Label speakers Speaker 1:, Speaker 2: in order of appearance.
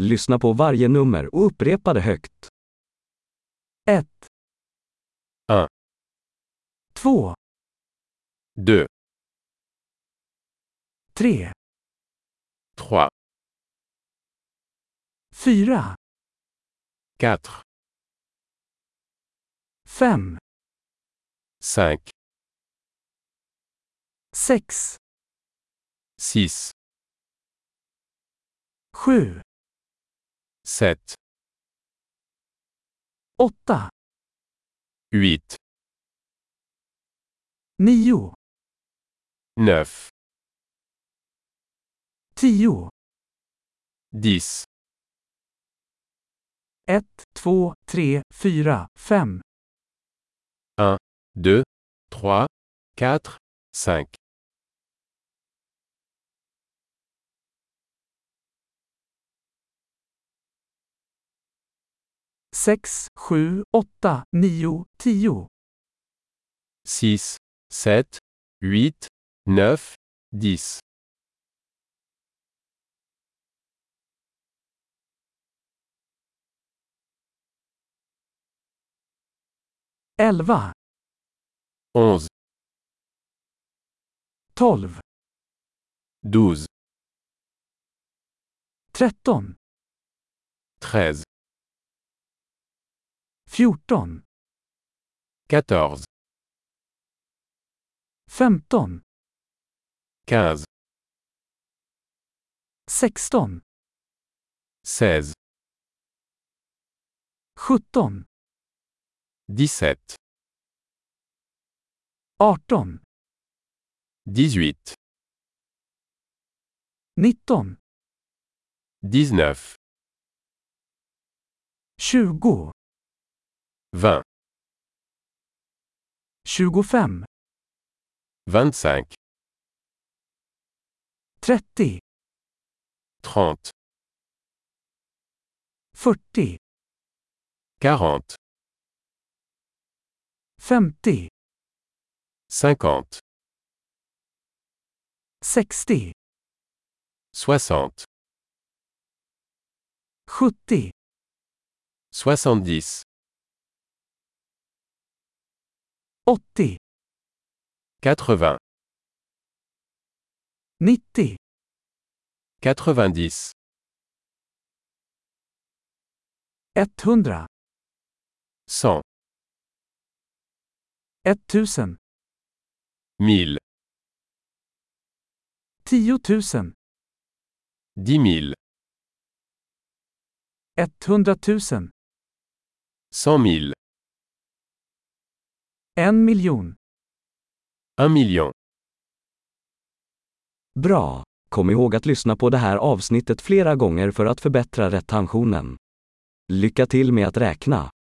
Speaker 1: Lyssna på varje nummer och upprepa det högt. 1,
Speaker 2: Un.
Speaker 1: 2,
Speaker 2: 2,
Speaker 1: 3,
Speaker 2: 3,
Speaker 1: 4,
Speaker 2: 4,
Speaker 1: 5,
Speaker 2: 5,
Speaker 1: 6,
Speaker 2: 6,
Speaker 1: 7,
Speaker 2: 7,
Speaker 1: 8,
Speaker 2: 8,
Speaker 1: 9,
Speaker 2: 9,
Speaker 1: 10,
Speaker 2: 10,
Speaker 1: 1, 2, 3, 4, 5,
Speaker 2: 2, 3, 4, 5.
Speaker 1: sex, sju, åtta, nio, tio,
Speaker 2: 6, 7, 8, 9, 10,
Speaker 1: elva,
Speaker 2: 11,
Speaker 1: tolv,
Speaker 2: 12,
Speaker 1: tretton,
Speaker 2: 13,
Speaker 1: fjorton,
Speaker 2: 14,
Speaker 1: femton,
Speaker 2: 15,
Speaker 1: sexton,
Speaker 2: 16,
Speaker 1: sjutton,
Speaker 2: 17,
Speaker 1: arton,
Speaker 2: 18,
Speaker 1: nitton,
Speaker 2: 19,
Speaker 1: tjugo,
Speaker 2: 20,
Speaker 1: tjugofem,
Speaker 2: 25,
Speaker 1: trettio,
Speaker 2: 30,
Speaker 1: fyrtio,
Speaker 2: 40,
Speaker 1: femtio,
Speaker 2: 50,
Speaker 1: sextio,
Speaker 2: 60,
Speaker 1: sjuttio,
Speaker 2: 70,
Speaker 1: åttio,
Speaker 2: 80,
Speaker 1: nittio,
Speaker 2: 90,
Speaker 1: etthundra,
Speaker 2: 100,
Speaker 1: etttusen,
Speaker 2: 1000,
Speaker 1: tiotusen,
Speaker 2: 10 000,
Speaker 1: etthundratusen,
Speaker 2: 100 000,
Speaker 1: en miljon.
Speaker 2: 1 million.
Speaker 1: Bra! Kom ihåg att lyssna på det här avsnittet flera gånger för att förbättra retentionen. Lycka till med att räkna!